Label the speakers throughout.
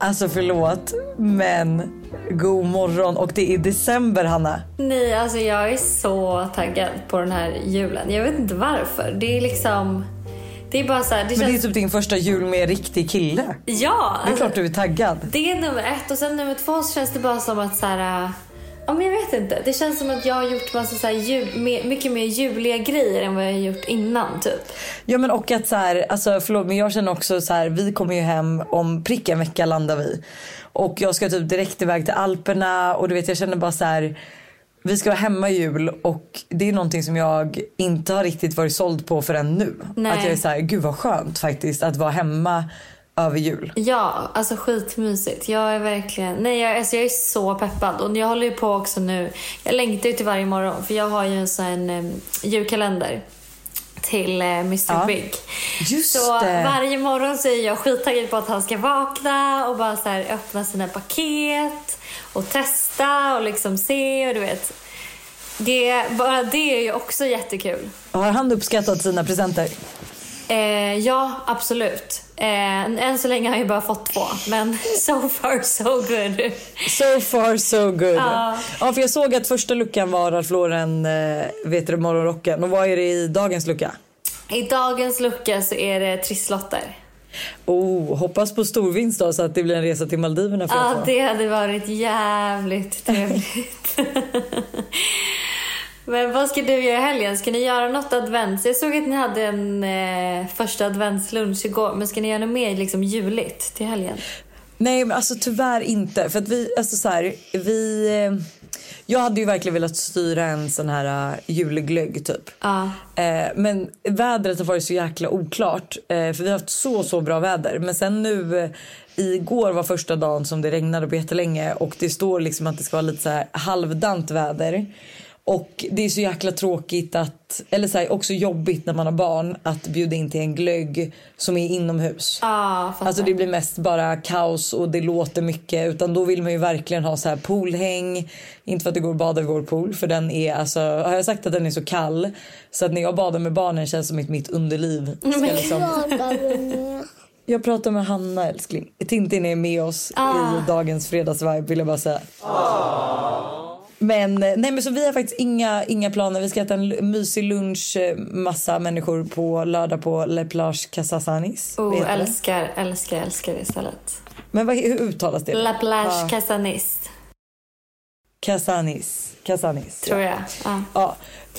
Speaker 1: Alltså förlåt, men god morgon och det är december Hanna.
Speaker 2: Nej, alltså jag är så taggad på den här julen. Jag vet inte varför. Det är liksom... Det är bara så här, det
Speaker 1: Men det är
Speaker 2: känns...
Speaker 1: typ din första jul med en riktig kille.
Speaker 2: Ja!
Speaker 1: Det är
Speaker 2: alltså,
Speaker 1: klart du är taggad.
Speaker 2: det är nummer ett och sen nummer två så känns det bara som att så här... äh, Ja, men jag vet inte. Det känns som att jag har gjort massa så här jul, mer, mycket mer juliga grejer än vad jag har gjort innan typ.
Speaker 1: Ja men och att så här, alltså förlåt men jag känner också så här, vi kommer ju hem om prick en vecka landar vi. Och jag ska typ direkt iväg till Alperna och du vet jag känner bara så här, vi ska vara hemma i jul och det är någonting som jag inte har riktigt varit såld på förrän nu.
Speaker 2: Nej.
Speaker 1: Att jag är så här, gud vad skönt faktiskt att vara hemma över jul.
Speaker 2: Ja, alltså skitmysigt. Jag är verkligen... Nej, jag, alltså jag är så peppad. Och jag håller ju på också nu. Jag längtar ju till varje morgon för jag har ju en sån här em, julkalender till eh, Mr
Speaker 1: Ja.
Speaker 2: Big.
Speaker 1: Just
Speaker 2: så
Speaker 1: det.
Speaker 2: varje morgon så är jag skittaggad på att han ska vakna och bara så här öppna sina paket och testa och liksom se och du vet. Det, bara det är ju också jättekul.
Speaker 1: Har han uppskattat sina presenter?
Speaker 2: Eh, ja, absolut. Eh, än så länge har jag bara fått två, men so far so good.
Speaker 1: So far so good.
Speaker 2: Ja.
Speaker 1: Ja, för jag såg att första luckan var Ralph Lauren eh, vet du, morgonrocken. Och vad är det i dagens lucka?
Speaker 2: I dagens lucka så är det trisslotter.
Speaker 1: Oh, hoppas på storvinst då så att det blir en resa till Maldiverna för
Speaker 2: Ja,
Speaker 1: er två.
Speaker 2: det hade varit jävligt trevligt. men vad ska du göra i helgen? Ska ni göra något advents? Jag såg att ni hade en eh, första adventslunch igår, men ska ni göra något mer liksom juligt till helgen?
Speaker 1: Nej, men alltså tyvärr inte. För att vi, alltså så här, vi... eh, Jag hade ju verkligen velat styra en sån här eh, julglögg typ.
Speaker 2: Ja.
Speaker 1: Eh, men vädret har varit så jäkla oklart. Eh, för vi har haft så, så bra väder. Men sen nu, eh, igår var första dagen som det regnade på jättelänge. Och det står liksom att det ska vara lite så här halvdant väder. Och det är så jäkla tråkigt att, eller så här, också jobbigt när man har barn att bjuda in till en glögg som är inomhus.
Speaker 2: Ja, fattar.
Speaker 1: Alltså det blir mest bara kaos och det låter mycket utan då vill man ju verkligen ha så här poolhäng. Inte för att det går att bada i vår pool för den är alltså, har jag sagt att den är så kall så att när jag badar med barnen känns som att mitt underliv ska liksom... Jag pratar med Hanna älskling. Tintin är med oss i dagens fredagsvibe vill jag bara säga. Men, eh, nej, men så vi har faktiskt inga, inga planer. Vi ska äta en l- mysig lunch, eh, massa människor på lördag på Le Plage Casasanis. Alltså, Vet
Speaker 2: Oh,
Speaker 1: du det?
Speaker 2: älskar, älskar, älskar det istället.
Speaker 1: Men vad, hur uttalas det?
Speaker 2: La plage
Speaker 1: Ja.
Speaker 2: Casanis,
Speaker 1: Kasanis. Kasanis.
Speaker 2: tror jag. Ja.
Speaker 1: Ja.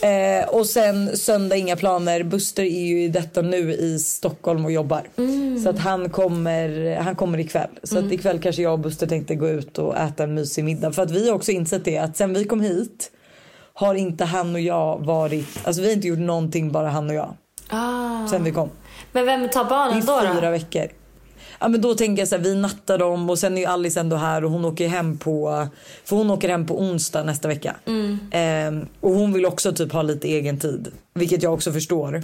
Speaker 1: Eh, och sen söndag, inga planer. Buster är ju i detta nu i Stockholm och jobbar.
Speaker 2: Mm.
Speaker 1: Så att han kommer, han kommer ikväll. Så att ikväll kanske jag och Buster tänkte gå ut och äta en mysig middag. För att vi har också insett det att sen vi kom hit har inte han och jag varit, alltså vi har inte gjort någonting bara han och jag.
Speaker 2: Ah.
Speaker 1: Sen vi kom.
Speaker 2: Men vem tar barnen
Speaker 1: I
Speaker 2: då?
Speaker 1: fyra
Speaker 2: då?
Speaker 1: veckor. Ja, men då tänker jag så här, vi nattar dem och sen är ju Alice ändå här och hon åker hem på, för hon åker hem på onsdag nästa vecka.
Speaker 2: Mm.
Speaker 1: Ehm, och hon vill också typ ha lite egen tid, vilket jag också förstår.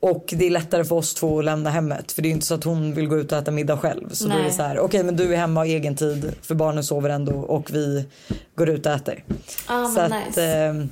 Speaker 1: Och det är lättare för oss två att lämna hemmet för det är ju inte så att hon vill gå ut och äta middag själv. Så då är det
Speaker 2: Nej.
Speaker 1: så här, okej men du är hemma och har egen tid för barnen sover ändå och vi går ut och äter.
Speaker 2: Ah, men
Speaker 1: så
Speaker 2: nice.
Speaker 1: ehm,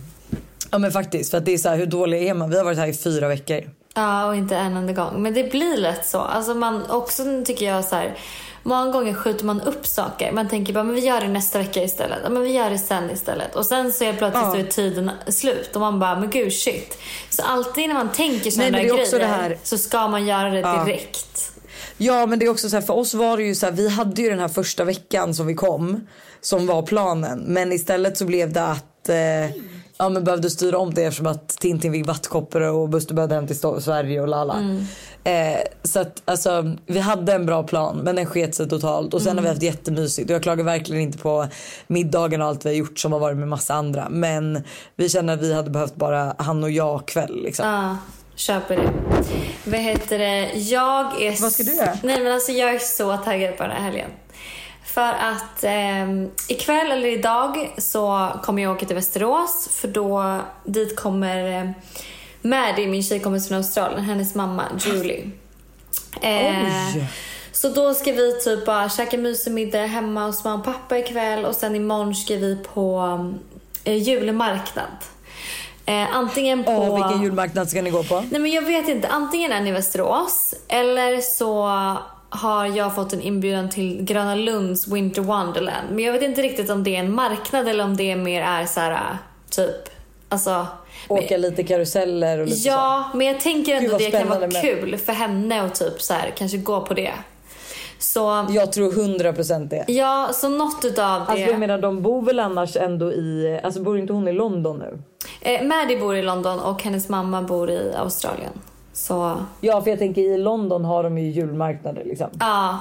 Speaker 1: ja men faktiskt för att det är så här, hur dålig är man? Vi har varit här i fyra veckor.
Speaker 2: Ja, och inte en enda gång. Men det blir lätt så. Alltså man också tycker jag så här, många gånger skjuter man upp saker. Man tänker bara, men vi gör det nästa vecka istället. Ja, men vi gör det sen istället. Och sen så är plötsligt
Speaker 1: Ja.
Speaker 2: så är tiden slut och man bara, men gud shit. Så alltid när man tänker
Speaker 1: Nej,
Speaker 2: sådana
Speaker 1: men
Speaker 2: där
Speaker 1: det är
Speaker 2: grejer
Speaker 1: också det här-
Speaker 2: så ska man göra det direkt.
Speaker 1: Ja men det är också så här, för oss var det ju så här, vi hade ju den här första veckan som vi kom som var planen men istället så blev det att eh, ja men behövde styra om det eftersom att Tintin fick vattkoppor och Buster behövde hem till Sto- Sverige och lala.
Speaker 2: Mm.
Speaker 1: Eh, så att alltså vi hade en bra plan men den sket sig totalt och sen har vi
Speaker 2: Mm.
Speaker 1: haft jättemysigt och jag klagar verkligen inte på middagen och allt vi har gjort som har varit med massa andra men vi känner att vi hade behövt bara han och jag kväll liksom.
Speaker 2: Ja, köper det. Vad heter det? Jag är...
Speaker 1: Vad ska du göra?
Speaker 2: Nej men alltså jag är så taggad på den här helgen. För att eh, ikväll eller idag så kommer jag åka till Västerås för då dit kommer eh, Maddie, min tjejkompis från Australien, hennes mamma Julie. Eh,
Speaker 1: Oj.
Speaker 2: Så då ska vi typ bara käka mysig middag hemma hos mamma och pappa ikväll och sen imorgon ska vi på eh, julmarknad. Eh, antingen på...
Speaker 1: Åh, vilken julmarknad ska ni gå på?
Speaker 2: Nej men jag vet inte. Antingen är ni i Västerås eller så har jag fått en inbjudan till Gröna Lunds Winter Wonderland. Men jag vet inte riktigt om det är en marknad eller om det mer är så här äh, typ, alltså.
Speaker 1: Åka lite karuseller och lite
Speaker 2: Ja, men jag tänker ändå
Speaker 1: vad
Speaker 2: det kan vara
Speaker 1: spännande med-
Speaker 2: kul för henne och typ så här kanske gå på det.
Speaker 1: så.
Speaker 2: Så
Speaker 1: Jag tror 100% det.
Speaker 2: ja, så något utav
Speaker 3: Alltså jag
Speaker 2: det.
Speaker 3: menar de bor väl annars ändå i, alltså bor inte hon i London nu?
Speaker 2: Eh, Maddie bor i London och hennes mamma bor i Australien. Så
Speaker 3: Ja för jag tänker i London har de ju julmarknader liksom.
Speaker 2: Ja.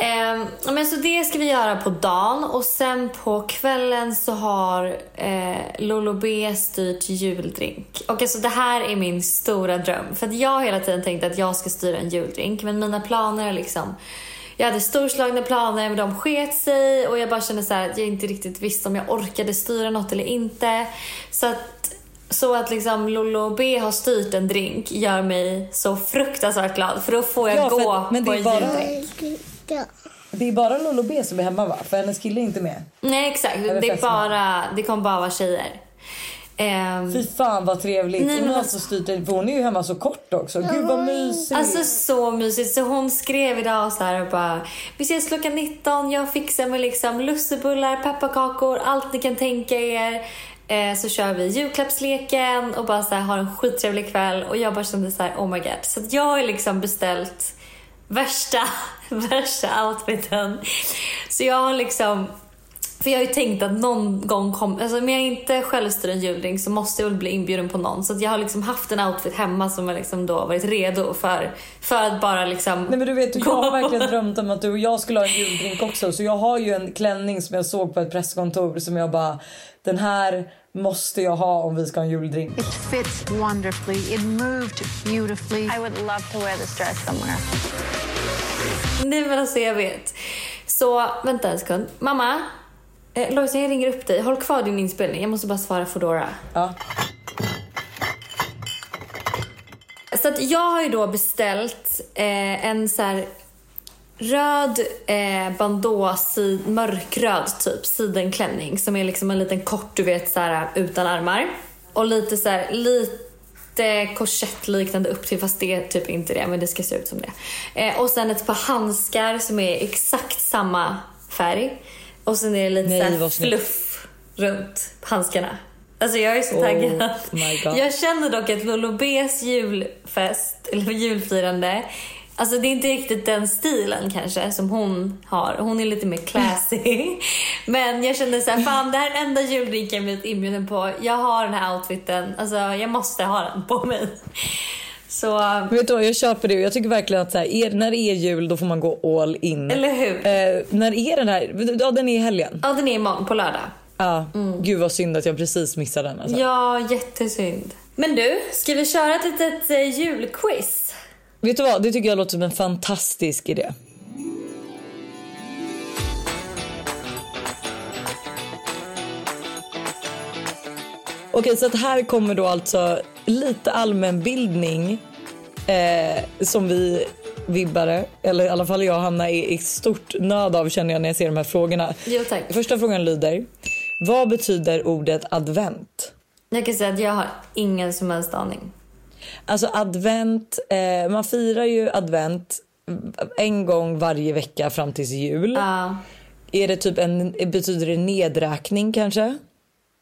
Speaker 2: Ehm, men så det ska vi göra på dagen och sen på kvällen så har eh, Lolo B styrt juldrink. Och alltså det här är min stora dröm. För att jag har hela tiden tänkt att jag ska styra en juldrink men mina planer är liksom jag hade storslagna planer men de sket sig och jag bara kände så här att jag inte riktigt visste om jag orkade styra något eller inte. Så att, så att liksom Lolo B har styrt en drink gör mig så fruktansvärt glad för då får jag
Speaker 1: Ja, för
Speaker 2: gå
Speaker 1: att- men det
Speaker 2: på
Speaker 1: är
Speaker 2: en typ.
Speaker 1: bara-
Speaker 2: juldrink.
Speaker 1: Det är bara Lollo B som är hemma va? För hennes kille är inte med.
Speaker 2: Nej exakt, det, är
Speaker 1: fästmö.
Speaker 2: bara, det kommer bara vara tjejer. Ehm,
Speaker 1: Fy fan vad trevligt.
Speaker 2: Nej,
Speaker 1: hon
Speaker 2: men
Speaker 1: har
Speaker 2: alltså-
Speaker 1: alltså styrt en, för hon är ju hemma så kort också. Gud vad mysigt.
Speaker 2: alltså så mysigt. Så hon skrev idag så här och bara Vi ses klockan 19, jag fixar med liksom lussebullar, pepparkakor, allt ni kan tänka er. Eh, så kör vi julklappsleken och bara så här, har en skittrevlig kväll. Och jag bara kände så här oh my god. Så att jag har liksom beställt värsta, värsta outfiten. Så jag har liksom För jag har ju tänkt att någon gång kom, alltså om jag inte själv styr en julring så måste jag väl bli inbjuden på någon. Så att jag har liksom haft en outfit hemma som har liksom då varit redo för, för att bara liksom...
Speaker 1: Nej men du vet, jag har verkligen drömt om att du och jag skulle ha en juldrink också. Så jag har ju en klänning som jag såg på ett presskontor som jag bara, den här måste jag ha om vi ska ha en juldrink.
Speaker 4: It fits wonderfully. It moved beautifully.
Speaker 5: I would love to wear this dress somewhere.
Speaker 2: Nej men alltså jag vet. Så vänta en sekund. Mamma, eh, Lojsan jag ringer upp dig. Håll kvar din inspelning, jag måste bara svara Foodora.
Speaker 1: Ja.
Speaker 2: Så att jag har ju då beställt eh, en så här röd eh, bandå, si, mörkröd typ, sidenklänning som är liksom en liten kort, du vet så här utan armar. Och lite så här, lite korsettliknande upp till fast det är typ inte det, men det ska se ut som det. Eh, och sen ett par handskar som är exakt samma färg. Och sen är det lite
Speaker 1: Nej,
Speaker 2: så här
Speaker 1: vad snyggt.
Speaker 2: fluff runt handskarna. Alltså jag är så taggad.
Speaker 1: Oh my God.
Speaker 2: Jag känner dock att Lolo B's julfest, eller julfirande, alltså det är inte riktigt den stilen kanske som hon har. Hon är lite mer classy. Men jag kände så här, fan det här är den enda juldrinken jag blivit inbjuden på. Jag har den här outfiten, alltså jag måste ha den på mig. Så,
Speaker 1: Men vet du vad, jag köper det och jag tycker verkligen att så här, er, när det är jul då får man gå all in.
Speaker 2: eller hur?
Speaker 1: Eh, när är den här? Ja den är i helgen.
Speaker 2: Ja, den är imorgon på lördag.
Speaker 1: Ja. Gud vad synd att jag precis missade den. Alltså.
Speaker 2: Ja, jättesynd. Men du, ska vi köra ett litet eh, julquiz?
Speaker 1: Vet du vad, det tycker jag låter som en fantastisk idé. Okej, så att här kommer då alltså lite allmänbildning eh, som vi vibbare, eller i alla fall jag och Hanna, är i stort nöd av känner jag när jag ser de här frågorna.
Speaker 2: Jo, tack.
Speaker 1: Första frågan lyder, vad betyder ordet advent?
Speaker 2: Jag kan säga att jag har ingen som helst aning.
Speaker 1: Alltså advent, eh, man firar ju advent en gång varje vecka fram tills jul.
Speaker 2: Ja.
Speaker 1: Är det typ en, betyder det nedräkning kanske?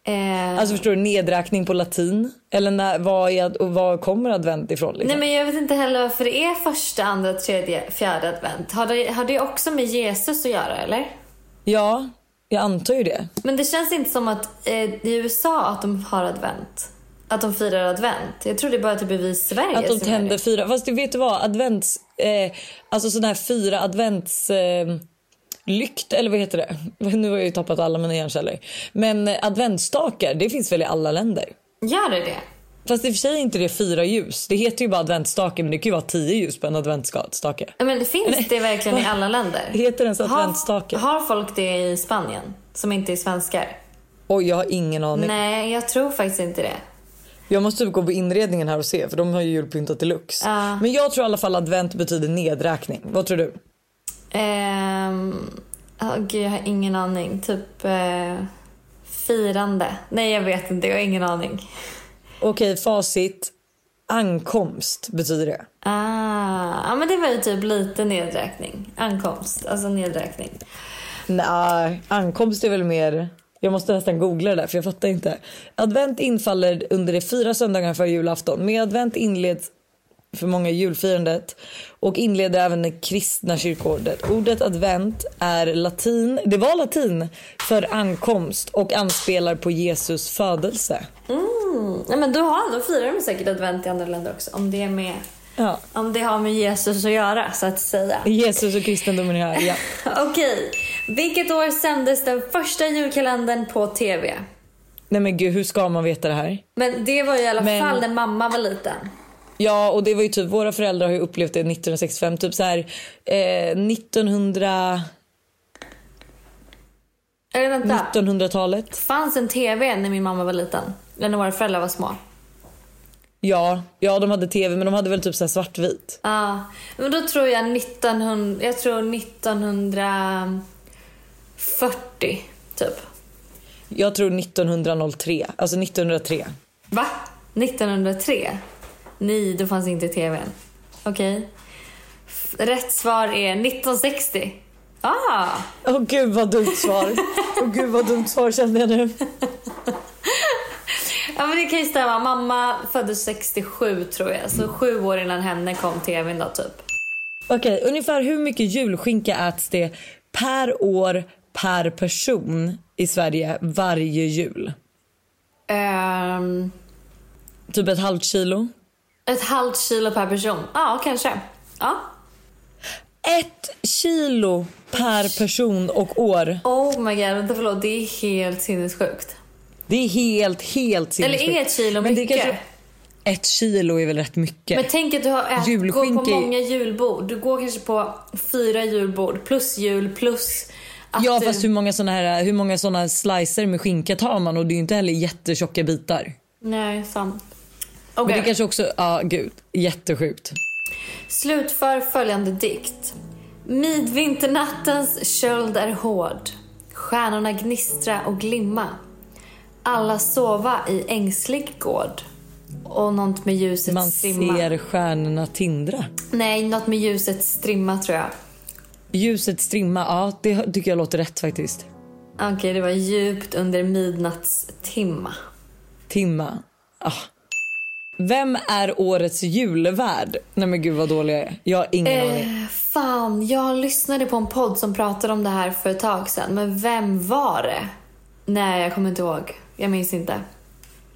Speaker 2: Eh,
Speaker 1: Alltså förstår du, nedräkning på latin? Eller när, vad är, ad- och var kommer advent ifrån? Liksom?
Speaker 2: Nej men jag vet inte heller varför det är första, andra, tredje, fjärde advent. Har det, har det också med Jesus att göra eller?
Speaker 1: Ja, jag antar ju det.
Speaker 2: Men det känns inte som att eh, i USA att de har advent. Att de firar advent. Jag tror det är bara typ i Sverige
Speaker 1: Att de
Speaker 2: som gör
Speaker 1: tänder
Speaker 2: det.
Speaker 1: fyra, fast du vet du vad? Advents, eh, alltså sådana här fyra advents... Eh, Lykt, eller vad heter det? Nu har jag ju tappat alla mina hjärnceller. Men eh, adventstakar, det finns väl i alla länder?
Speaker 2: Gör det det?
Speaker 1: Fast i och för sig är inte det fyra ljus. Det heter ju bara adventsstake men det kan ju vara tio ljus på en adventsstake.
Speaker 2: Ja, Men det finns det verkligen i alla länder.
Speaker 1: Heter den så
Speaker 2: Har-
Speaker 1: adventsstake?
Speaker 2: Har folk det i Spanien som inte är svenskar?
Speaker 1: Oj jag har ingen aning.
Speaker 2: Nej, jag tror faktiskt inte det.
Speaker 1: Jag måste typ gå på inredningen här och se för de har ju julpyntat deluxe. Men jag tror i alla fall advent betyder nedräkning. Vad tror du?
Speaker 2: Ehm, åh, gud, jag har ingen aning. Typ eh, firande. Nej, jag vet inte. Jag har ingen aning.
Speaker 1: Okej facit. Ankomst betyder det.
Speaker 2: Ah, ja, men det var ju typ lite nedräkning. Ankomst, alltså nedräkning.
Speaker 1: Nej, ankomst är väl mer... Jag måste nästan googla det där för jag fattar inte. Advent infaller under de fyra söndagarna före julafton. Med advent inleds för många julfirandet och inleder även det kristna kyrkoåret. Ordet advent är latin, det var latin, för ankomst och anspelar på Jesus födelse.
Speaker 2: Mm, Nej, men då, har, då firar de säkert advent i andra länder också. Om det, är med,
Speaker 1: Ja.
Speaker 2: om det har med Jesus att göra, så att säga.
Speaker 1: Jesus och kristendomen är här, ja.
Speaker 2: Okej. Vilket år sändes den första julkalendern på tv?
Speaker 1: Nej men gud, hur ska man veta det här?
Speaker 2: Men det var ju i alla
Speaker 1: Men-
Speaker 2: fall när mamma var liten.
Speaker 1: Ja, och det var ju typ våra föräldrar har ju upplevt det 1965. Typ så här eh, 1900...
Speaker 2: Eller vänta.
Speaker 1: 1900-talet.
Speaker 2: fanns en tv när min mamma var liten. Eller när våra föräldrar var små.
Speaker 1: Ja, ja, de hade tv men de hade väl typ så här svartvit.
Speaker 2: Ja. Men då tror jag 1900, jag tror 1940 typ.
Speaker 1: Jag tror 1903. Alltså 1903.
Speaker 2: Va? 1903? Nej, då fanns inte tvn. Okej. F- Rätt svar är 1960. Ah!
Speaker 1: Åh gud vad dumt svar. Åh gud vad dumt svar kände jag nu.
Speaker 2: Ja men det kan ju stämma. Mamma föddes 67 tror jag. Så sju år innan henne kom tvn då typ.
Speaker 1: Okej, ungefär hur mycket julskinka äts det per år per person i Sverige varje jul?
Speaker 2: Ehm,
Speaker 1: Typ ett halvt kilo?
Speaker 2: ett halvt kilo per person. Ja, kanske. Ja.
Speaker 1: Ett kilo per person och år.
Speaker 2: Oh my god, vänta förlåt. Det är helt sinnessjukt.
Speaker 1: Det är helt, helt
Speaker 2: Eller
Speaker 1: sinnessjukt.
Speaker 2: är ett kilo
Speaker 1: Men det
Speaker 2: mycket?
Speaker 1: kanske- Ett kilo är väl rätt mycket?
Speaker 2: Men tänk att du har ätit, går
Speaker 1: Eh, Julskinka
Speaker 2: på
Speaker 1: är-
Speaker 2: många julbord. Du går kanske på fyra julbord plus jul plus att eh,
Speaker 1: ja
Speaker 2: du...
Speaker 1: fast hur många såna här hur många såna slicer med skinka tar man och det är ju inte heller jättetjocka bitar.
Speaker 2: Nej, sant.
Speaker 1: Men
Speaker 2: Okej,
Speaker 1: det kanske också, ja gud, jättesjukt.
Speaker 2: slutför följande dikt. Midvinternattens köld är hård. Stjärnorna gnistra och glimma. Alla sova i ängslig gård. Och något med ljuset
Speaker 1: Man
Speaker 2: strimma.
Speaker 1: ser stjärnorna tindra.
Speaker 2: Nej, något med ljuset strimma tror jag.
Speaker 1: Ljuset strimma, ja det tycker jag låter rätt faktiskt.
Speaker 2: Okej, det var djupt under midnattstimma.
Speaker 1: Timma. Ah. Vem är årets julvärd? Nej men gud vad dålig jag är. Jag har ingen aning.
Speaker 2: Eh, fan, jag lyssnade på en podd som pratade om det här för ett tag sedan. Men vem var det? Nej, jag kommer inte ihåg. Jag minns inte.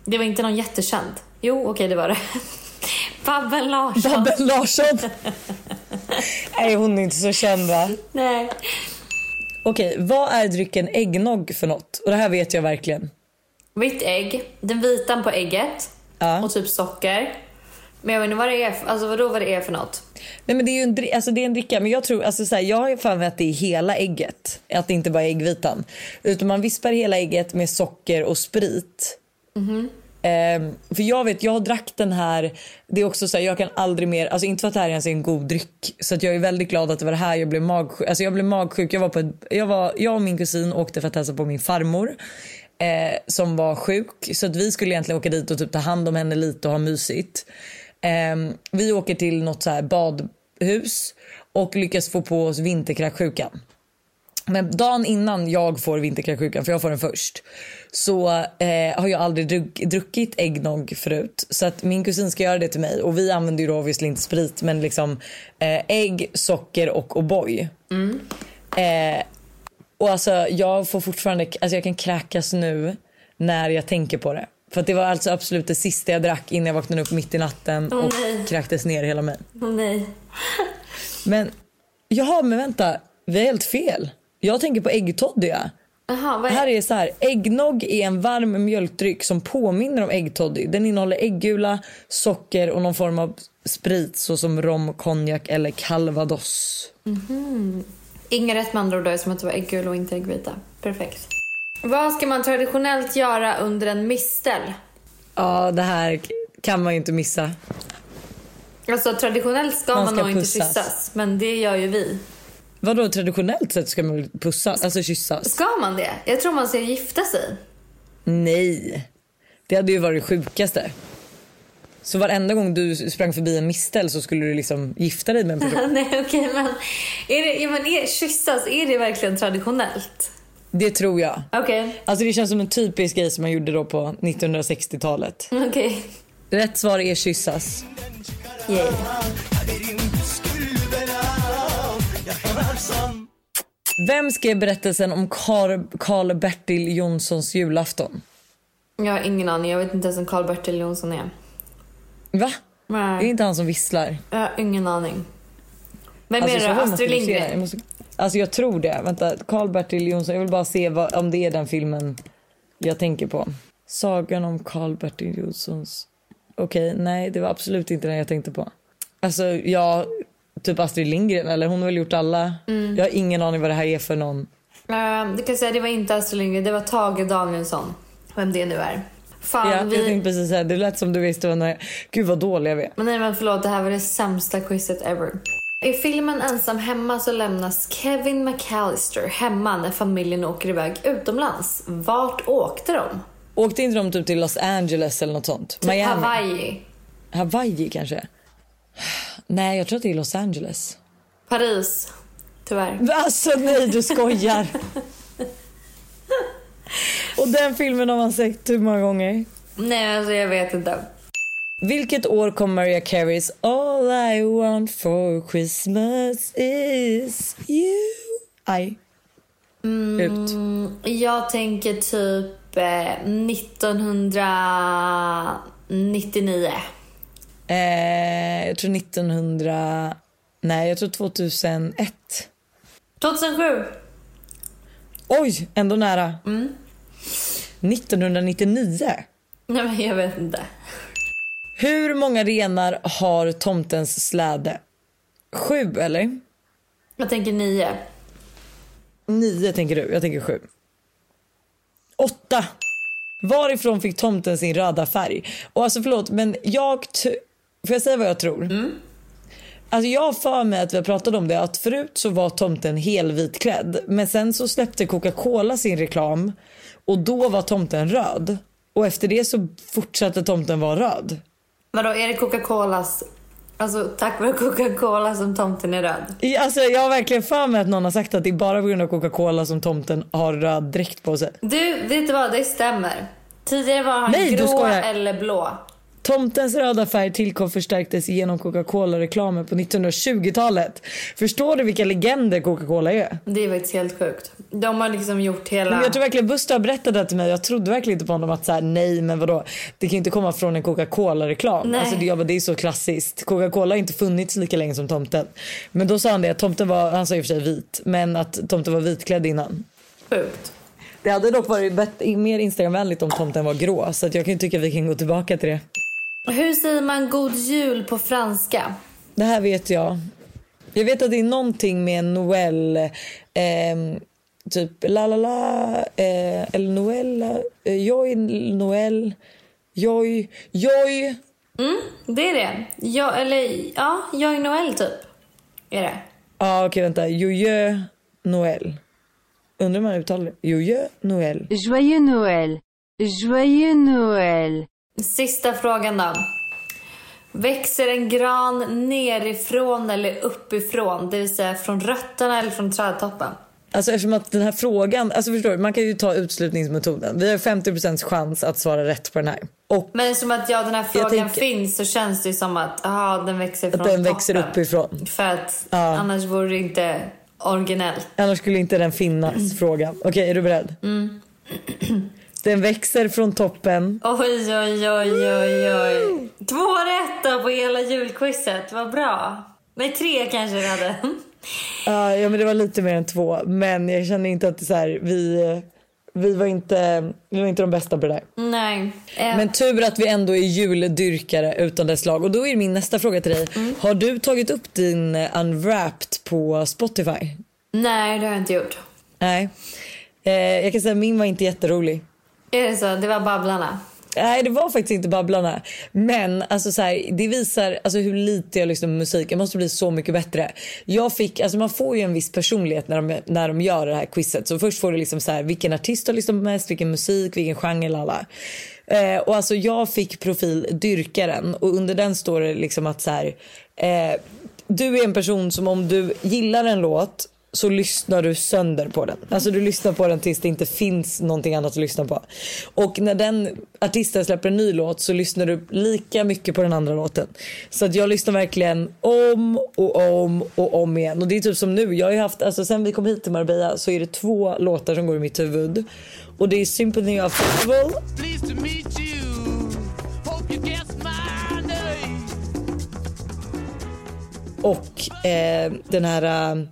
Speaker 2: Det var inte någon jättekänd. Jo, okej, det var det. Babben Larsson.
Speaker 1: Babben Larsson! Nej hon är inte så känd va?
Speaker 2: Nej.
Speaker 1: Okej, vad är drycken äggnog för något? Och det här vet jag verkligen.
Speaker 2: Vitt ägg, den vitan på ägget
Speaker 1: Ja.
Speaker 2: och typ socker. Men jag vet inte vad det är för, alltså vadå vad det är för något.
Speaker 1: Nej men det är ju en, dri- alltså, det är en dricka men jag tror, alltså så här, jag har ju för mig att det är hela ägget. Att det inte bara är äggvitan. Utan man vispar hela ägget med socker och sprit. Ehm, för jag vet, jag har drack den här, det är också så här, jag kan aldrig mer, alltså inte för att det här ens är en god dryck. Så att jag är väldigt glad att det var det här jag blev magsjuk. Alltså jag blev magsjuk, jag var på ett, jag, var, jag och min kusin åkte för att hälsa på min farmor. Eh, som var sjuk. Så att vi skulle egentligen åka dit och typ ta hand om henne lite och ha mysigt. Ehm, vi åker till något så här badhus och lyckas få på oss vinterkräksjukan. Men dagen innan jag får vinterkräksjukan, för jag får den först, så eh, har jag aldrig druck, druckit äggnog förut. Så att min kusin ska göra det till mig och vi använder ju då obviously inte sprit men liksom eh, ägg, socker och O'boy.
Speaker 2: Mm.
Speaker 1: Eh, och alltså jag får fortfarande, alltså jag kan kräkas nu när jag tänker på det. För att det var alltså absolut det sista jag drack innan jag vaknade upp mitt i natten
Speaker 2: Åh,
Speaker 1: och
Speaker 2: nej.
Speaker 1: kräktes ner hela mig.
Speaker 2: Åh, nej.
Speaker 1: Men jaha, men vänta. Vi har helt fel. Jag tänker på äggtoddy. ja.
Speaker 2: Jaha, vad är
Speaker 1: Här är så här. Äggnog är en varm mjölkdryck som påminner om äggtoddy. Den innehåller äggula, socker och någon form av sprit såsom rom, konjak eller calvados.
Speaker 2: Inga rätt med andra ord då, som att det var äggul och inte äggvita. Perfekt. Vad ska man traditionellt göra under en mistel?
Speaker 1: Ja, det här kan man ju inte missa.
Speaker 2: Alltså traditionellt ska
Speaker 1: Man
Speaker 2: man,
Speaker 1: ska
Speaker 2: nog inte
Speaker 1: pussas.
Speaker 2: kyssas, men det gör ju vi.
Speaker 1: Vadå traditionellt sett ska man väl pussas, alltså kyssas?
Speaker 2: Ska man det? Jag tror man ska gifta sig.
Speaker 1: Nej. Det hade ju varit det sjukaste. Så varenda gång du sprang förbi en mistel så skulle du liksom gifta dig med en person.
Speaker 2: Nej okej men, är det, ja, men är, kyssas, är det verkligen traditionellt?
Speaker 1: Det tror jag.
Speaker 2: Okej,
Speaker 1: Alltså det känns som en typisk grej som man gjorde då på 1960-talet.
Speaker 2: okej.
Speaker 1: Rätt svar är kyssas.
Speaker 2: Yay.
Speaker 1: Vem skrev berättelsen om Karl-Bertil Jonssons julafton?
Speaker 2: Jag har ingen aning, jag vet inte ens vem Karl-Bertil Jonsson är.
Speaker 1: Va? Är det
Speaker 2: Nej,
Speaker 1: inte han som visslar?
Speaker 2: jag har ingen aning. Vem
Speaker 1: Alltså,
Speaker 2: är
Speaker 1: så
Speaker 2: det?
Speaker 1: här måste
Speaker 2: Astrid
Speaker 1: vi se det. Jag
Speaker 2: Lindgren?
Speaker 1: måste... Alltså jag tror det. Vänta, Karl-Bertil Jonsson. Jag vill bara se vad, om det är den filmen jag tänker på. Sagan om Karl-Bertil Jonssons... Okej, nej det var absolut inte den jag tänkte på. Alltså jag... Typ Astrid Lindgren eller hon har väl gjort alla.
Speaker 2: Mm.
Speaker 1: Jag har ingen aning vad det här är för någon.
Speaker 2: Uh, du kan säga det var inte Astrid Lindgren, det var Tage Danielsson. Vem det nu är. Fan,
Speaker 1: Ja, Jag
Speaker 2: vi...
Speaker 1: tänkte precis säga, det lät som du visste vad den här... Gud vad dålig jag är.
Speaker 2: Men nej men förlåt, det här var det sämsta quizet ever. I filmen Ensam hemma så lämnas Kevin McAllister hemma när familjen åker iväg utomlands. Vart åkte de?
Speaker 1: Åkte inte de typ till Los Angeles eller något sånt?
Speaker 2: Typ
Speaker 1: Miami?
Speaker 2: Hawaii?
Speaker 1: Hawaii kanske? Nej, jag tror att det är Los Angeles.
Speaker 2: Paris? Tyvärr.
Speaker 1: Alltså nej du skojar. Och den filmen har man sett hur många gånger?
Speaker 2: Nej alltså jag vet inte.
Speaker 1: Vilket år kom Mariah Careys All I want for Christmas is you I ut?
Speaker 2: Jag tänker typ eh, 1999.
Speaker 1: Eh, jag tror 1900... Nej, jag tror 2001.
Speaker 2: 2007!
Speaker 1: Oj, ändå nära. 1999.
Speaker 2: Nej men jag vet inte.
Speaker 1: Hur många renar har tomtens släde? Sju, eller?
Speaker 2: Jag tänker 9.
Speaker 1: Nio tänker du, jag tänker sju. Åtta. Varifrån fick tomten sin röda färg? Och alltså förlåt men jag... t- Får jag säga vad jag tror? Alltså jag har för mig att vi har pratat om det att förut så var tomten helvitklädd men sen så släppte Coca-Cola sin reklam och då var tomten röd. Och efter det så fortsatte tomten vara röd.
Speaker 2: Vadå är det Coca-Colas... Alltså tack vare Coca-Cola som tomten är röd?
Speaker 1: I- Alltså jag har verkligen för mig att någon har sagt att det är bara på grund av Coca-Cola som tomten har röd dräkt på sig.
Speaker 2: Du, vet du vad? Det stämmer. Tidigare var han
Speaker 1: Nej, du
Speaker 2: grå
Speaker 1: skojar.
Speaker 2: eller blå.
Speaker 1: Tomtens röda färg tillkom förstärktes genom Coca-Cola-reklamen på 1920-talet. Förstår du vilka legender Coca-Cola är?
Speaker 2: Det är faktiskt helt sjukt. De har liksom gjort hela...
Speaker 1: Men jag tror verkligen Buster har berättat det här till mig. Jag trodde verkligen inte på honom att så här, nej men vadå. Det kan ju inte komma från en Coca-Cola-reklam.
Speaker 2: Nej.
Speaker 1: Alltså det, jag bara, det är så klassiskt. Coca-Cola har inte funnits lika länge som tomten. Men då sa han det att tomten var, han sa i och för sig vit, men att tomten var vitklädd innan.
Speaker 2: Sjukt.
Speaker 1: Det hade dock varit bet- mer instagramvänligt om tomten var grå. Så att jag kan ju tycka att vi kan gå tillbaka till det.
Speaker 2: Hur säger man god jul på franska?
Speaker 1: Det här vet jag. Jag vet att det är någonting med Noel. ehm, typ la la la. Eh, eller Noel. Eh, joj, Noel. Joj, joj.
Speaker 2: Det är det. Ja, eller ja, jag Noel typ. Är det.
Speaker 1: Ja, ah, okej vänta. Jojö, Noel. Undrar hur man uttalar det. Jojö, Noel.
Speaker 6: Joyeux Noël. Joyeux Noël.
Speaker 2: Sista frågan då. Växer en gran nerifrån eller uppifrån? Det vill säga från rötterna eller från trädtoppen?
Speaker 1: Alltså eftersom att den här frågan, alltså förstår du, man kan ju ta utslutningsmetoden. Vi har 50 chans att svara rätt på den här. Och
Speaker 2: Men som att ja, den här frågan
Speaker 1: tänker-
Speaker 2: finns så känns det ju som att aha, den växer från
Speaker 1: att den växer
Speaker 2: toppen.
Speaker 1: uppifrån.
Speaker 2: För att annars vore det inte originellt.
Speaker 1: Annars skulle inte den finnas, frågan. Okej, är du beredd? Den växer från toppen.
Speaker 2: Oj, oj, oj, oj, oj. Två rätt då på hela julquizet. Vad bra. Nej, tre kanske du hade.
Speaker 1: Ah, ja, men det var lite mer än två. Men jag känner inte att det är så här, vi... eh,
Speaker 3: vi var inte, vi var inte de bästa på det där.
Speaker 2: Nej. Eh,
Speaker 1: Men tur att vi ändå är juldyrkare utan dess lag. Och då är min nästa fråga till dig. Har du tagit upp din eh, Unwrapped på Spotify?
Speaker 2: Nej, det har jag inte gjort.
Speaker 1: Nej. Eh, jag kan säga att min var inte jätterolig.
Speaker 2: Är det så? Det var Babblarna.
Speaker 1: Nej, det var faktiskt inte Babblarna. Men alltså, så här, det visar alltså, hur lite jag lyssnar på musik. Jag måste bli så mycket bättre. Jag fick, alltså, man får ju en viss personlighet när de, när de gör det här quizet. Så först får du liksom så här, vilken artist du lyssnar på mest, vilken musik, vilken genre. Lala. Eh, och alltså, jag fick profil Dyrkaren och under den står det liksom att så här, eh, du är en person som om du gillar en låt så lyssnar du sönder på den. Alltså du lyssnar på den tills det inte finns någonting annat att lyssna på. Och när den artisten släpper en ny låt så lyssnar du lika mycket på den andra låten. Så att jag lyssnar verkligen om och om och om igen. Och det är typ som nu, jag har ju haft, alltså sen vi kom hit till Marbella så är det två låtar som går i mitt huvud. Och det är Symphony of Festival Och eh, den här... eh,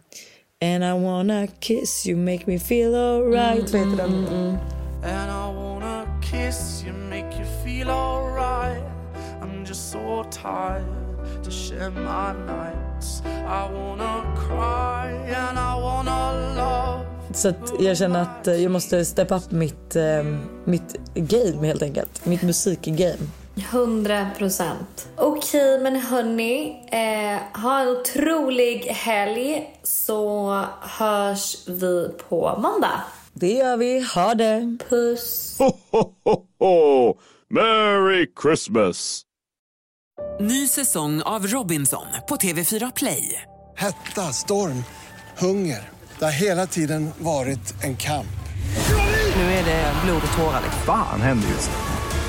Speaker 1: And I wanna kiss you, make me feel alright. Vad heter den?
Speaker 7: And I wanna kiss you, make you feel alright. I'm just so tired to share my nights. I wanna cry and I wanna love.
Speaker 1: Så att jag känner att eh, jag måste step up mitt, eh, mitt game helt enkelt. Mitt musikgame.
Speaker 2: 100 procent. Okej, men hörni. Eh, ha en otrolig helg så hörs vi på måndag.
Speaker 1: Det gör vi. Ha det!
Speaker 2: Puss!
Speaker 8: Merry Christmas!
Speaker 9: Ny säsong av Robinson på TV4 Play.
Speaker 10: Hetta, storm, hunger. Det har hela tiden varit en kamp.
Speaker 9: Nu är det blod och tårar. liksom.
Speaker 8: Fan händer just nu.